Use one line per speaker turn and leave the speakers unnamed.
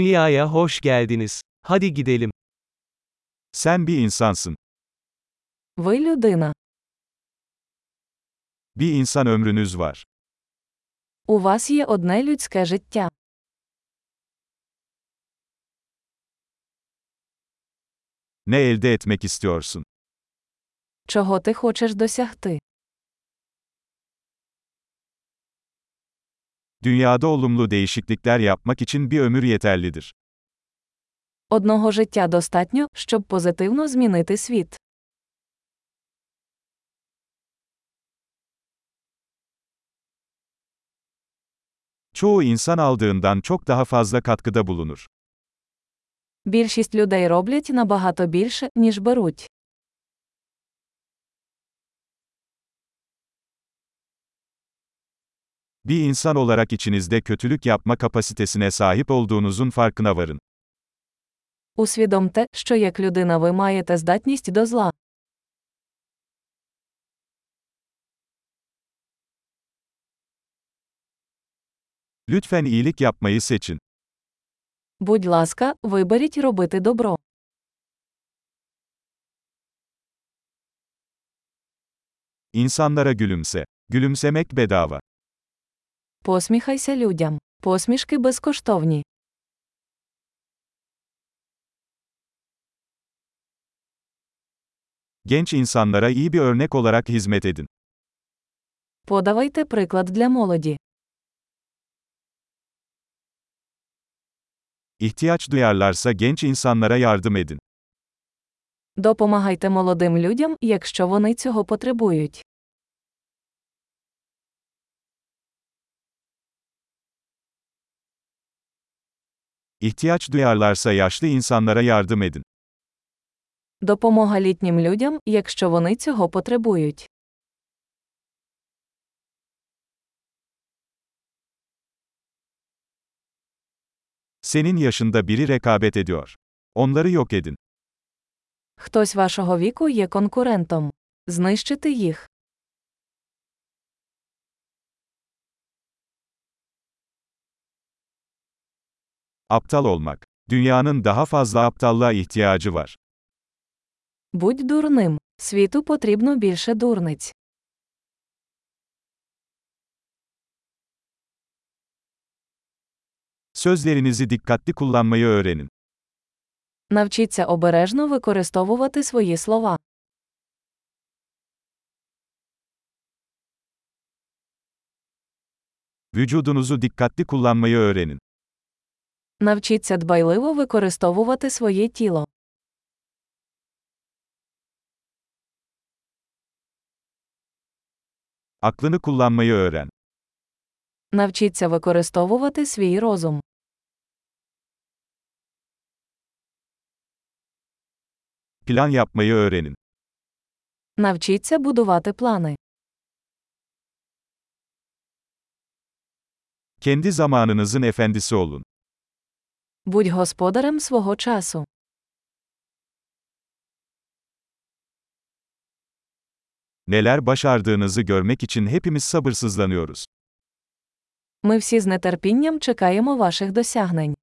Dünyaya hoş geldiniz. Hadi gidelim.
Sen bir insansın.
Ви людина.
Bir insan ömrünüz var.
У вас є одне людське життя.
Ne elde etmek istiyorsun?
Чого ти хочеш досягти?
Dünyada olumlu değişiklikler yapmak için bir ömür yeterlidir.
Одного життя достатньо, щоб позитивно змінити світ.
Çoğu insan aldığından çok daha fazla katkıda bulunur.
Більшість людей роблять набагато більше, ніж беруть.
Bir insan olarak içinizde kötülük yapma kapasitesine sahip olduğunuzun farkına varın.
Усвідомте, що як людина ви маєте здатність до зла.
Lütfen iyilik yapmayı seçin.
Будь ласка, виберіть робити добро.
İnsanlara gülümse. Gülümsemek bedava.
Посміхайся людям. Посмішки безкоштовні.
Genç insanlara iyi bir örnek olarak hizmet edin.
Подавайте приклад для молоді.
İhtiyaç duyarlarsa genç insanlara yardım edin.
Допомагайте молодим людям, якщо вони цього потребують.
İhtiyaç duyarlarsa yaşlı insanlara yardım edin.
Допомога літнім людям, якщо вони цього потребують.
Senin yaşında biri rekabet ediyor. Onları yok edin.
Хтось вашого віку є конкурентом. Знищити їх.
Aptal olmak. Dünyanın daha fazla aptallığa ihtiyacı var.
Будь дурним. Світу потрібно більше дурниць.
Sözlerinizi dikkatli kullanmayı öğrenin.
Навчіться обережно використовувати свої слова.
Vücudunuzu dikkatli kullanmayı öğrenin.
Навчіться дбайливо використовувати своє тіло.
Aklını kullanmayı öğren.
Навчіться використовувати свій розум.
Plan yapmayı öğrenin.
Навчіться будувати плани.
Kendi zamanınızın efendisi olun.
Будь господарем свого часу.
Neler başardığınızı görmek için hepimiz sabırsızlanıyoruz.
Ми всі з нетерпінням чекаємо ваших досягнень.